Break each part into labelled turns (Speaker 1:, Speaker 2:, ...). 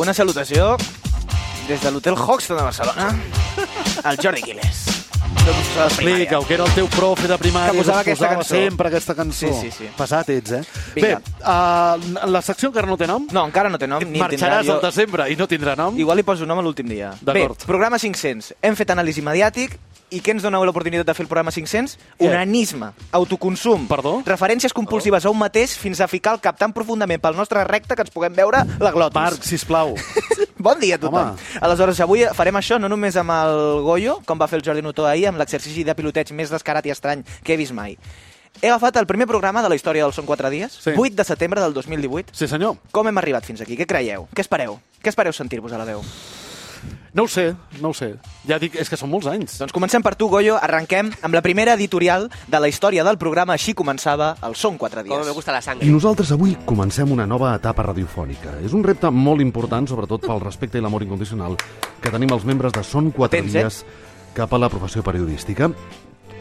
Speaker 1: Una salutació des de l'hotel Hoxton de Barcelona al Jordi Quiles. professor de primària.
Speaker 2: Explica-ho, que era el teu profe de primària
Speaker 1: Que posava
Speaker 2: que us
Speaker 1: aquesta cançó.
Speaker 2: sempre aquesta cançó.
Speaker 1: Sí, sí, sí.
Speaker 2: Pesat ets, eh?
Speaker 1: Vinga.
Speaker 2: Bé, uh, la secció encara no té nom?
Speaker 1: No, encara no té nom. Ni
Speaker 2: Marxaràs
Speaker 1: tindrà,
Speaker 2: al desembre i no tindrà nom?
Speaker 1: Igual li poso nom a l'últim dia. Bé,
Speaker 2: D'acord.
Speaker 1: programa 500. Hem fet anàlisi mediàtic i què ens dona l'oportunitat de fer el programa 500?
Speaker 2: Què?
Speaker 1: Unanisme, autoconsum,
Speaker 2: Perdó?
Speaker 1: referències compulsives a un mateix fins a ficar el cap tan profundament pel nostre recte que ens puguem veure la glotis.
Speaker 2: Marc, sisplau.
Speaker 1: Bon dia a tothom.
Speaker 2: Home.
Speaker 1: Aleshores, avui farem això no només amb el Goyo, com va fer el Jordi Notó ahir, amb l'exercici de piloteig més descarat i estrany que he vist mai. He agafat el primer programa de la història del Són 4 dies,
Speaker 2: Sí.
Speaker 1: 8 de setembre del 2018.
Speaker 2: Sí, senyor.
Speaker 1: Com hem arribat fins aquí? Què creieu? Què espereu? Què espereu sentir-vos a la veu?
Speaker 2: No ho sé, no ho sé. Ja dic, és que són molts anys.
Speaker 1: Doncs comencem per tu, Goyo. Arrenquem amb la primera editorial de la història del programa. Així començava el Són 4 dies.
Speaker 3: Como me gusta la sangre.
Speaker 4: I nosaltres avui comencem una nova etapa radiofònica. És un repte molt important, sobretot pel respecte i l'amor incondicional que tenim els membres de Son 4
Speaker 1: Tens, eh?
Speaker 4: Dies cap a la professió periodística.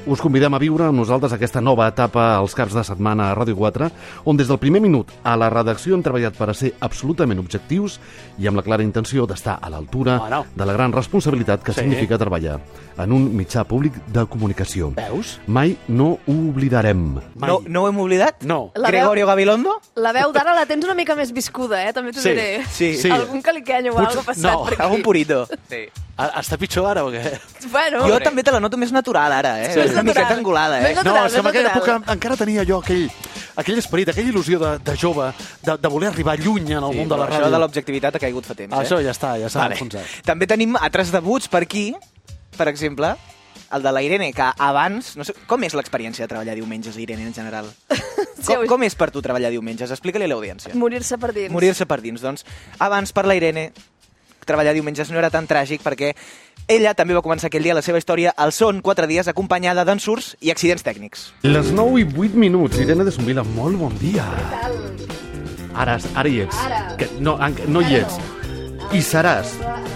Speaker 4: Us convidem a viure amb nosaltres aquesta nova etapa als caps de setmana a Ràdio 4, on des del primer minut a la redacció hem treballat per a ser absolutament objectius i amb la clara intenció d'estar a l'altura
Speaker 2: Bueno.
Speaker 4: de la gran responsabilitat que
Speaker 2: Sí.
Speaker 4: significa treballar en un mitjà públic de comunicació.
Speaker 2: Veus?
Speaker 4: Mai no ho oblidarem.
Speaker 2: Mai.
Speaker 1: No, no ho hem oblidat?
Speaker 2: No.
Speaker 5: La veu-
Speaker 1: Gregorio Gabilondo?
Speaker 5: La veu d'ara la tens una mica més viscuda, eh? També t'ho
Speaker 2: Sí,
Speaker 5: diré.
Speaker 1: sí.
Speaker 2: Sí.
Speaker 5: Algun caliquenyo o
Speaker 2: Potser-
Speaker 5: alguna passat
Speaker 2: no.
Speaker 5: per aquí.
Speaker 1: Algun purito.
Speaker 3: Sí.
Speaker 2: A- Està pitjor ara o què?
Speaker 5: Bueno,
Speaker 1: Jo també te la noto més natural, ara, eh?
Speaker 5: Sí. Més
Speaker 1: Una miqueta
Speaker 5: natural.
Speaker 1: angulada, eh?
Speaker 5: Més Natural,
Speaker 2: no, és que en
Speaker 5: és
Speaker 2: aquella època
Speaker 5: natural.
Speaker 2: encara tenia jo aquell, aquell esperit, aquella il·lusió de, de jove, de, de voler arribar lluny en el món de la
Speaker 1: però
Speaker 2: ràdio.
Speaker 1: Això de l'objectivitat ha caigut fa temps, eh?
Speaker 2: Això ja està, ja s'ha
Speaker 1: Vale.
Speaker 2: enfonsat.
Speaker 1: També tenim altres debuts per aquí, per exemple, el de la Irene, que abans... No sé, com és l'experiència de treballar diumenges, Irene, en general? Com,
Speaker 5: oi.
Speaker 1: com és per tu treballar diumenges? Explica-li a l'audiència.
Speaker 5: Morir-se per dins.
Speaker 1: Morir-se per dins. Doncs abans, per la Irene, treballar diumenges no era tan tràgic perquè ella també va començar aquell dia la seva història al son, quatre dies, acompanyada d'ensurs i accidents tècnics.
Speaker 4: Les 9 i 8 minuts, Irene de Somila, molt bon dia. Ara, ara hi ets.
Speaker 6: Ara.
Speaker 4: Que no, en, no hi ets. I seràs.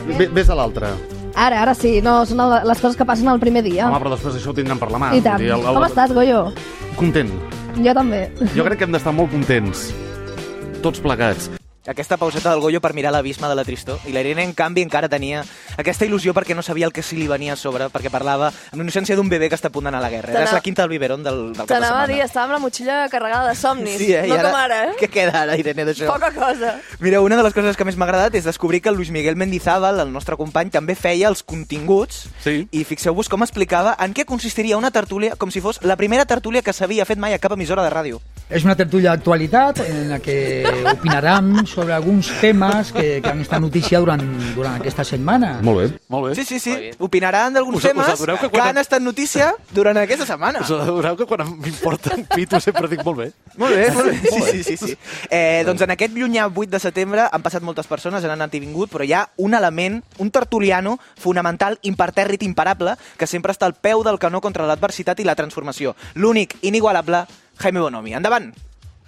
Speaker 4: Ve- Ves a l'altre.
Speaker 6: Ara, ara sí, no, són el- les coses que passen el primer dia.
Speaker 4: Home, però després Doncs això ho tindrem per la mà.
Speaker 6: I tant.
Speaker 4: Vull dir, el- el-
Speaker 6: Com estàs, Goyo?
Speaker 4: Content.
Speaker 6: Jo també.
Speaker 4: Jo crec que hem d'estar molt contents. Tots plegats.
Speaker 1: Aquesta pauseta del Goyo per mirar l'abisme de la tristor. I la Irene, en canvi, encara tenia aquesta il·lusió perquè no sabia el que sí li venia a sobre, perquè parlava amb la innocència d'un bebè que està a punt d'anar a la guerra. Era
Speaker 5: T'anava-
Speaker 1: la quinta del biberon del, del cap de
Speaker 5: T'anava
Speaker 1: setmana.
Speaker 5: a dir, estava amb la motxilla carregada de somnis.
Speaker 1: Sí, eh? I
Speaker 5: No com ara, eh?
Speaker 1: Què queda ara, Irene, d'això?
Speaker 5: Poca cosa.
Speaker 1: Mira, una de les coses que més m'ha agradat és descobrir que el Luis Miguel Mendizábal, el nostre company, també feia els continguts
Speaker 2: Sí.
Speaker 1: i fixeu-vos com explicava en què consistiria una tertúlia com si fos la primera tertúlia que s'havia fet mai a cap emissora de ràdio.
Speaker 7: Es una tertulia de actualidad en la que opinarán sobre alguns temes que, que han estat notícia durant, durant aquesta setmana.
Speaker 4: Molt bé.
Speaker 2: Molt bé.
Speaker 1: Sí, sí, sí,
Speaker 3: Molt bé.
Speaker 1: opinaran d'alguns
Speaker 2: Us- us
Speaker 1: temes
Speaker 2: adoneu que
Speaker 1: que,
Speaker 2: quan-
Speaker 1: han estat notícia durant aquesta setmana.
Speaker 2: Us adoneu que quan m'importa un pito sempre dic molt bé.
Speaker 1: Molt bé, molt bé. Sí, sí, sí, sí. Eh, doncs en aquest llunyà 8 de setembre han passat moltes persones, han anat i vingut, però hi ha un element, un tertuliano fonamental, impertèrrit, imparable, que sempre està al peu del canó contra l'adversitat i la transformació. L'únic, inigualable, Jaime Bonomi. Endavant!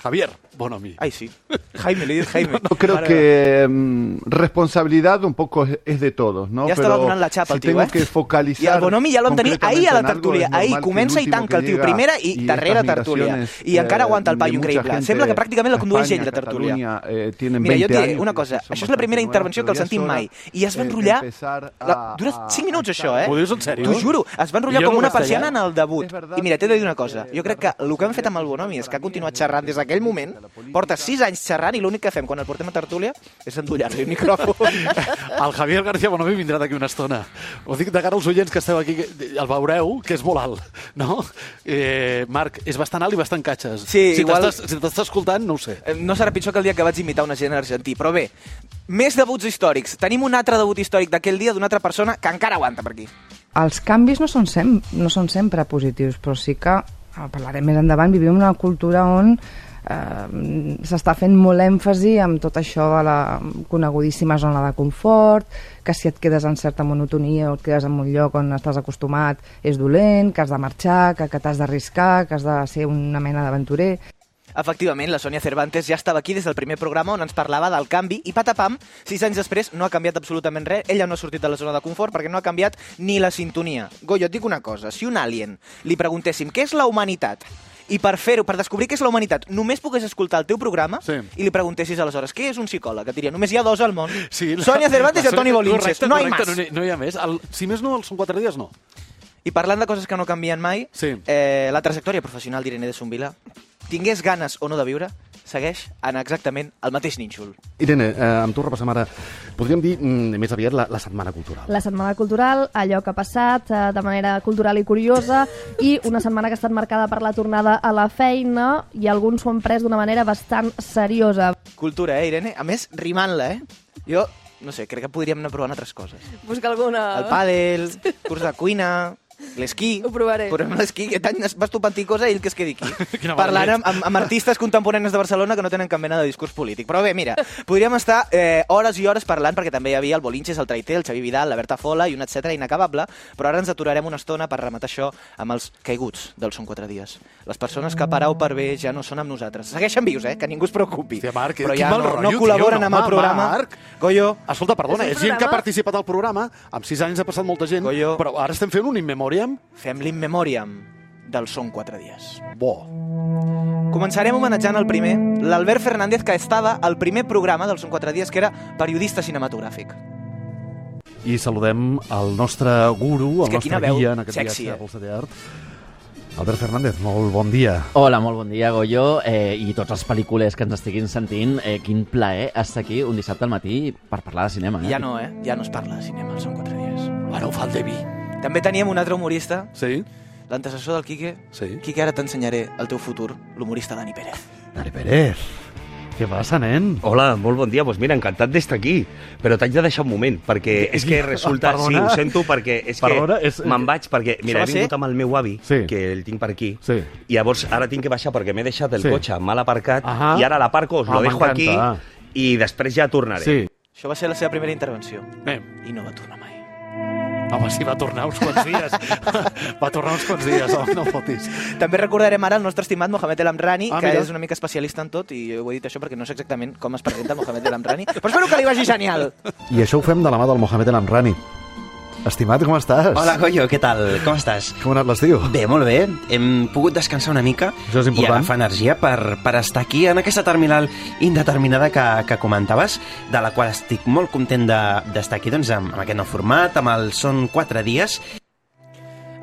Speaker 2: Javier, bon amic.
Speaker 1: Ai, sí. Jaime, li he dit Jaime.
Speaker 8: No, creo
Speaker 1: Mare meva.
Speaker 8: que mm, responsabilidad un poco es, es de todos, ¿no?
Speaker 1: Ja
Speaker 8: Pero
Speaker 1: estava donant la xapa,
Speaker 8: si
Speaker 1: el tio,
Speaker 8: tengo
Speaker 1: eh?
Speaker 8: que focalizar
Speaker 1: I el Bonomi ja l'hem tenir ahir a la
Speaker 8: concretamente en algo,
Speaker 1: tertúlia.
Speaker 8: es normal
Speaker 1: Ahir
Speaker 8: que
Speaker 1: comença
Speaker 8: el
Speaker 1: i
Speaker 8: último
Speaker 1: tanca el
Speaker 8: que
Speaker 1: tio.
Speaker 8: llega
Speaker 1: Primera i,
Speaker 8: estas
Speaker 1: darrera tertúlia.
Speaker 8: migraciones,
Speaker 1: I encara
Speaker 8: eh,
Speaker 1: aguanta el
Speaker 8: de
Speaker 1: paio
Speaker 8: mucha
Speaker 1: increïble.
Speaker 8: gente
Speaker 1: Sembla que pràcticament la
Speaker 8: a
Speaker 1: condueix ell,
Speaker 8: España,
Speaker 1: la tertúlia.
Speaker 8: Catalunya, eh, tienen
Speaker 1: Mira, jo
Speaker 8: 20
Speaker 1: et diré
Speaker 8: años,
Speaker 1: una
Speaker 8: que
Speaker 1: cosa.
Speaker 8: son
Speaker 1: Això és la primera
Speaker 8: bastante
Speaker 1: intervenció que els
Speaker 8: nuevas,
Speaker 1: sentim
Speaker 8: pero
Speaker 1: mai.
Speaker 8: ya es hora,
Speaker 1: I es va
Speaker 8: eh, de
Speaker 1: enrotllar...
Speaker 8: empezar a-
Speaker 1: La... Dura
Speaker 8: a-
Speaker 1: 5 minuts,
Speaker 8: a
Speaker 1: això,
Speaker 8: estar-
Speaker 1: eh?
Speaker 2: Ho dius en sèrio?
Speaker 1: T'ho juro. Es va enrotllar
Speaker 2: Jo
Speaker 1: com
Speaker 2: no
Speaker 1: una
Speaker 2: vaig
Speaker 1: persiana en
Speaker 2: tallar.
Speaker 1: el debut.
Speaker 8: És verdad
Speaker 1: I mira, t'he de dir una
Speaker 8: que,
Speaker 1: cosa. Jo
Speaker 8: eh,
Speaker 1: crec que
Speaker 8: la
Speaker 1: el que hem fet amb el Bonomi és que ha continuat xerrant des d'aquell moment, porta 6 anys xerrant i l'únic que fem quan el portem a tertúlia és endollar-li el micròfon.
Speaker 2: El Javier García Bonomi vindrà d'aquí una estona. Ho dic de cara als oients que esteu aquí, que el veureu, que és molt alt, no? Eh, Marc, és bastant alt i bastant catxes.
Speaker 1: Sí,
Speaker 2: si
Speaker 1: igual-
Speaker 2: t'estàs- Si t'estàs escoltant, no ho sé.
Speaker 1: Eh, No serà pitjor que el dia que vaig imitar un agent argentí, però bé, més debuts històrics. Tenim un altre debut històric d'aquell dia d'una altra persona que encara aguanta per aquí.
Speaker 9: els canvis no són, sem no són sempre positius, però sí que, eh, parlarem més endavant, vivim en una cultura on eh, s'està fent molt èmfasi amb tot això de la conegudíssima zona de confort, que si et quedes en certa monotonia o et quedes en un lloc on estàs acostumat és dolent, que has de marxar, que, que t'has d'arriscar, que has de ser una mena d'aventurer.
Speaker 1: Efectivament, la Sònia Cervantes ja estava aquí des del primer programa on ens parlava del canvi i patapam, sis anys després no ha canviat absolutament res, ella no ha sortit de la zona de confort perquè no ha canviat ni la sintonia. Goyo, et dic una cosa, si un alien li preguntéssim què és la humanitat I per fer-ho, per descobrir què és la humanitat, només pogués escoltar el teu programa
Speaker 2: Sí.
Speaker 1: i li preguntessis aleshores què és un psicòleg. Et diria, només hi ha dos al món.
Speaker 2: la-
Speaker 1: Sònia Cervantes
Speaker 2: la
Speaker 1: i el Toni
Speaker 2: Sònia-
Speaker 1: Bolinches.
Speaker 2: correcte,
Speaker 1: No hi ha
Speaker 2: correcte,
Speaker 1: més.
Speaker 2: No, n'hi- no hi ha més. El, si més no, els són quatre dies, no.
Speaker 1: I parlant de coses que no canvien mai,
Speaker 2: Sí.
Speaker 1: eh, la trajectòria professional d'Irene de Sombila, tingués ganes o no de viure, segueix en exactament el mateix nínxol.
Speaker 4: Irene, eh, amb tu repassem ara, podríem dir mm, més aviat la, la setmana cultural.
Speaker 6: La setmana cultural, allò que ha passat eh, de manera cultural i curiosa i una setmana que ha estat marcada per la tornada a la feina i alguns s'ho han pres d'una manera bastant seriosa.
Speaker 1: Cultura, eh, Irene? A més, rimant-la, eh? Jo, no sé, crec que podríem anar provant altres coses.
Speaker 5: Busca alguna...
Speaker 1: El pàdel, curs de cuina, l'esquí...
Speaker 5: Ah. Ho provaré.
Speaker 1: Provem l'esquí. Aquest any vas tu panticosa i ell que es quedi aquí.
Speaker 2: Quina
Speaker 1: Parlant
Speaker 2: barbaret.
Speaker 1: amb, amb, amb artistes contemporanis de Barcelona que no tenen cap mena de discurs polític. Però bé, mira, podríem estar eh, hores i hores parlant perquè també hi havia el Bolinches, el Traité, el Xavi Vidal, la Berta Fola i un etcètera inacabable, però ara ens aturarem una estona per rematar això amb els caiguts del Són 4 dies. Les persones que parau per bé ja no són amb nosaltres. Segueixen vius, eh? Que ningú es preocupi.
Speaker 2: Hòstia, Marc,
Speaker 1: però
Speaker 2: quin
Speaker 1: ja
Speaker 2: mal
Speaker 1: no,
Speaker 2: rotllo,
Speaker 1: no col·laboren
Speaker 2: tio, no,
Speaker 1: amb el
Speaker 2: home,
Speaker 1: programa.
Speaker 2: Marc.
Speaker 1: Goyo,
Speaker 2: Escolta, perdona,
Speaker 5: És
Speaker 2: és,
Speaker 5: un
Speaker 2: gent que ha
Speaker 5: programa?
Speaker 2: participat al programa, amb sis anys ha passat molta gent,
Speaker 1: Coyo.
Speaker 2: però ara estem fent un in memoriam
Speaker 1: fem l'in memoriam del Són 4 dies.
Speaker 2: bo.
Speaker 1: Començarem homenatjant el primer, l'Albert Fernández, que estava al primer programa dels Són 4 dies, que era periodista cinematogràfic.
Speaker 4: I saludem el nostre guru,
Speaker 1: És
Speaker 4: el
Speaker 1: que
Speaker 4: nostre
Speaker 1: quina veu
Speaker 4: guia en aquest
Speaker 1: sexy,
Speaker 4: viatge
Speaker 1: eh?
Speaker 4: a Polsa de Art. Albert Fernández, molt bon dia.
Speaker 3: Hola, molt bon dia, Goyo, eh, i tots els pel·lículers que ens estiguin sentint. Eh, quin plaer estar aquí un dissabte al matí per parlar de cinema. Eh?
Speaker 1: Ja no, eh? Ja no es parla de cinema als Són 4 dies.
Speaker 10: Ah,
Speaker 2: Bueno, fa el Devi.
Speaker 1: També teníem un altre humorista,
Speaker 2: Sí?
Speaker 1: l'antecessor del Quique.
Speaker 2: Sí.
Speaker 1: Quique, ara t'ensenyaré el teu futur, l'humorista Dani Pérez.
Speaker 4: Dani Pérez, què passa, nen?
Speaker 10: Hola, molt bon dia. Doncs pues mira, encantat d'estar aquí, però t'haig de deixar un moment, perquè és que resulta...
Speaker 4: Perdona?
Speaker 10: Sí, ho sento, perquè és
Speaker 4: Perdona,
Speaker 10: que
Speaker 4: és-
Speaker 10: me'n vaig, perquè mira,
Speaker 1: va
Speaker 10: he vingut
Speaker 1: ser?
Speaker 10: amb el meu avi,
Speaker 4: Sí.
Speaker 10: que el tinc per aquí,
Speaker 4: Sí.
Speaker 10: i llavors ara tinc que baixar perquè m'he deixat el
Speaker 4: Sí.
Speaker 10: cotxe mal aparcat,
Speaker 4: Ahà.
Speaker 10: i ara l'aparco, us
Speaker 4: Ah,
Speaker 10: lo dejo aquí,
Speaker 4: m'encanta.
Speaker 10: i després ja tornaré.
Speaker 4: Sí.
Speaker 1: Això va ser la seva primera intervenció.
Speaker 2: Bé,
Speaker 1: I no va tornar mai.
Speaker 2: home, sí, va tornar uns quants dies. va tornar uns quants dies, home, no em fotis.
Speaker 1: També recordarem ara el nostre estimat Mohamed El Amrani,
Speaker 2: Ah,
Speaker 1: que
Speaker 2: mira.
Speaker 1: és una mica especialista en tot, i ho he dit això perquè no sé exactament com es presenta el Mohamed El Amrani, però espero que li vagi genial.
Speaker 4: I això ho fem de la mà del Mohamed El Amrani. Estimat, com estàs?
Speaker 10: Hola, Goyo, què tal? Com estàs?
Speaker 4: Com ha anat l'estiu?
Speaker 10: Bé, molt bé. Hem pogut descansar una mica
Speaker 4: Això és
Speaker 10: i
Speaker 4: important.
Speaker 10: agafar energia per, per estar aquí en aquesta terminal indeterminada que, que comentaves, de la qual estic molt content de- d'estar de, aquí doncs, amb, amb aquest nou format, amb el Són 4 dies.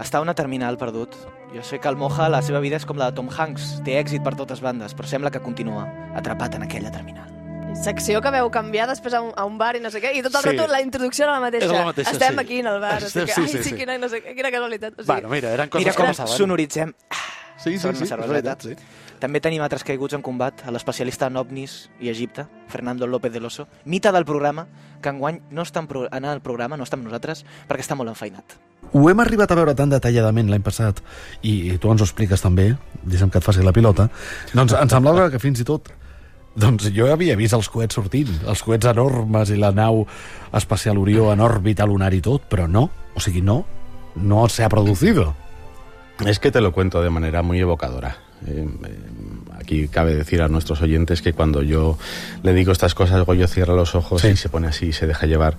Speaker 1: Està a una terminal perdut. Jo sé que el Moja, la seva vida és com la de Tom Hanks. Té èxit per totes bandes, però sembla que continua atrapat en aquella terminal.
Speaker 5: Secció que veu canviar després a un, a un bar i no sé què, i tot el
Speaker 2: Sí.
Speaker 5: sí. rato la introducció era la mateixa.
Speaker 2: Era la mateixa,
Speaker 5: Estem
Speaker 2: sí.
Speaker 5: aquí en el bar, no sé
Speaker 2: Sí,
Speaker 5: què.
Speaker 2: sí,
Speaker 5: Ai,
Speaker 2: sí,
Speaker 5: sí,
Speaker 2: sí.
Speaker 5: quina, no sé, què, quina casualitat. O sigui,
Speaker 2: Bueno, mira, eren coses
Speaker 1: Mira
Speaker 2: que eh?
Speaker 1: com
Speaker 2: passaven.
Speaker 1: sonoritzem.
Speaker 2: Sí, sí,
Speaker 1: Sona
Speaker 2: sí, és
Speaker 1: cerveseta.
Speaker 2: veritat, sí.
Speaker 1: També tenim altres caiguts en combat, a l'especialista en ovnis i Egipte, Fernando López de l'Oso, mita del programa, que enguany no està en, pro en el programa, no està amb nosaltres, perquè està molt enfeinat.
Speaker 4: Ho hem arribat a veure tan detalladament l'any passat, i tu ens ho expliques també, deixa'm que et faci la pilota, doncs em semblava que fins i tot doncs jo havia vist els coets sortint, els coets enormes i la nau espacial Orió en òrbita lunar i tot, però no, o sigui, no, no se ha producido.
Speaker 11: Es que te lo cuento de manera muy evocadora. Eh, eh, aquí cabe decir a nuestros oyentes que cuando yo le digo estas cosas, Goyo cierra los ojos
Speaker 4: Sí.
Speaker 11: y se pone así y se deja llevar.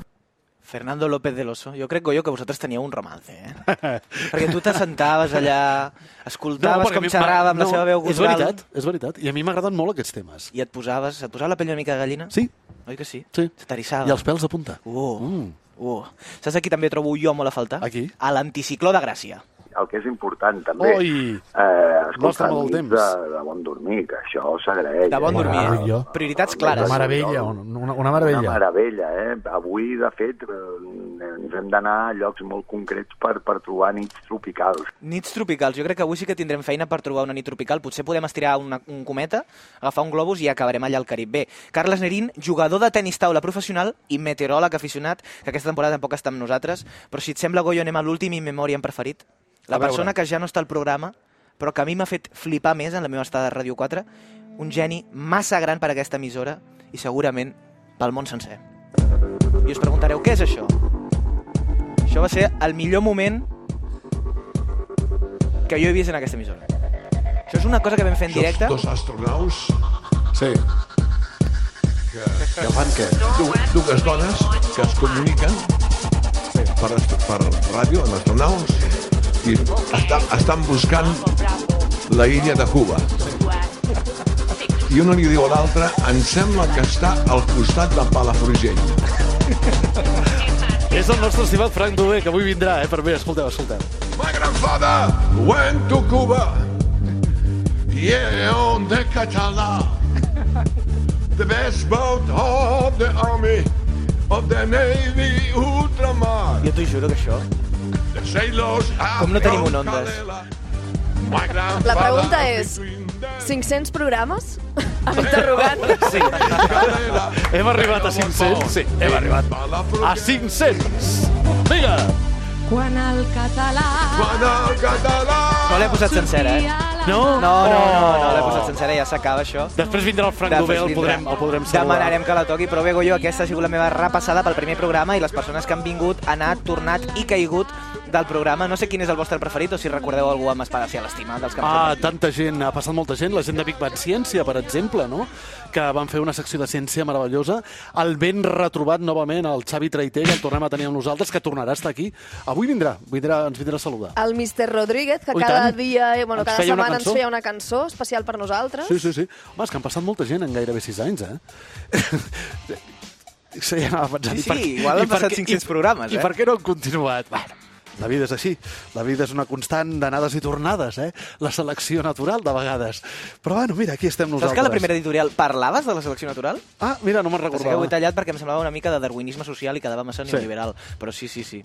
Speaker 1: Fernando López de l'Oso, jo crec, Goyo, que vosaltres teníeu un romance, eh? perquè tu t'assentaves allà, escoltaves no,
Speaker 2: perquè a mi
Speaker 1: com xerrava amb no, la
Speaker 2: m'agrada-
Speaker 1: seva veu
Speaker 2: És
Speaker 1: gutural,
Speaker 2: veritat, és veritat. I a mi m'agraden molt aquests temes.
Speaker 1: i et posaves, et posava la pell una mica de gallina?
Speaker 2: Sí,
Speaker 1: Oi que sí?
Speaker 2: sí.
Speaker 1: Se t'arissava.
Speaker 2: I els pèls de punta.
Speaker 1: Uh,
Speaker 2: Mm.
Speaker 1: uh. Saps aquí també trobo jo molt a faltar?
Speaker 2: Aquí?
Speaker 1: A l'anticicló de Gràcia.
Speaker 11: El que és important,
Speaker 2: Oi!
Speaker 11: eh,
Speaker 2: escolta, No està molt de nits temps.
Speaker 11: de bon dormir, que això s'agraeix.
Speaker 1: De bon
Speaker 4: eh?
Speaker 1: dormir, eh?
Speaker 4: Meravella.
Speaker 1: Prioritats
Speaker 4: Una
Speaker 1: clares.
Speaker 4: meravella, una, una meravella.
Speaker 11: Una meravella, eh? Avui, de fet, eh, ens hem d'anar a llocs molt concrets per, per trobar nits tropicals.
Speaker 1: Nits tropicals. Jo crec que avui sí que tindrem feina per trobar una nit tropical. Potser podem estirar una, un cometa, agafar un globus i acabarem allà al Carib. Bé, Carles Nerín, jugador de tenis taula professional i meteoròleg aficionat, que aquesta temporada tampoc està amb nosaltres, però si et sembla, Goyo, anem a l'últim in memoriam preferit. La
Speaker 2: A veure.
Speaker 1: persona que ja no està al programa, però que a mi m'ha fet flipar més en la meva estada a Ràdio 4, un geni massa gran per aquesta emissora i segurament pel món sencer. I us preguntareu, què és això? Això va ser el millor moment que jo he vist en aquesta emissora. Això és una cosa que vam fer en directe.
Speaker 11: astronaus... Sí. Que, que fan què? Du, dues dones que es comuniquen per, est- per ràdio en astronaus i estan, estan buscant la illa de Cuba. I una li diu a l'altra, em sembla que està al costat de Palafrugell.
Speaker 2: És el nostre estimat Frank Dubé, que avui vindrà, eh? Per mi, escolteu, escolteu.
Speaker 11: Father went to Cuba. Yeah, on the Catala. The best boat of the army, of the navy ultramar.
Speaker 1: Jo t'ho juro que això...
Speaker 11: The sailors
Speaker 1: Com no tenim un ondes?
Speaker 5: La pregunta és... 500 programes? Interrogant.
Speaker 2: Sí. Hem arribat a 500? Sí, hem arribat. A 500! Vinga!
Speaker 9: Quan el català...
Speaker 11: Quan el català...
Speaker 1: No l'he posat sencera, eh?
Speaker 2: No?
Speaker 1: No, no, no, no l'he posat sencera, ja s'acaba això.
Speaker 2: Després vindrà el Frank Dubé, el podrem, el podrem saludar.
Speaker 1: Demanarem que la toqui, però bé, Goyo, aquesta ha sigut la meva repassada pel primer programa i les persones que han vingut, anat, tornat i caigut del programa. No sé quin és el vostre preferit o si recordeu algú amb espadacia a l'estima dels que han
Speaker 2: Ah, tanta gent, ha passat molta gent, la gent de Big Bang Ciència, per exemple, no? que van fer una secció de ciència meravellosa. El ben retrobat novament, el Xavi Traité, que el tornem a tenir amb nosaltres, que tornarà a estar aquí. Avui vindrà, vindrà ens vindrà a saludar.
Speaker 5: El Mr. Rodríguez, que
Speaker 2: Oh, i
Speaker 5: cada
Speaker 2: tant.
Speaker 5: dia, eh, bueno,
Speaker 2: Ens
Speaker 5: cada
Speaker 2: feia una
Speaker 5: setmana ens
Speaker 2: cançó.
Speaker 5: feia una cançó especial per nosaltres.
Speaker 2: Sí, sí, sí. Home, és que han passat molta gent en gairebé 6 anys, eh? sí, anava pensant,
Speaker 1: Sí,
Speaker 2: i per-
Speaker 1: sí, igual han
Speaker 2: i per
Speaker 1: passat
Speaker 2: què-
Speaker 1: 500
Speaker 2: i-
Speaker 1: programes,
Speaker 2: I
Speaker 1: eh?
Speaker 2: per què no han continuat? Bueno, la vida és així. La vida és una constant d'anades i tornades, eh? La selecció natural, de vegades. Però, bueno, mira, aquí estem nosaltres.
Speaker 1: Saps que a la primera editorial parlaves de la selecció natural?
Speaker 2: Ah, mira, no me'n
Speaker 1: Passa que ho
Speaker 2: recordava.
Speaker 1: he tallat perquè em semblava una mica de darwinisme social i quedava massa
Speaker 2: Sí.
Speaker 1: neoliberal. Però sí, sí, sí.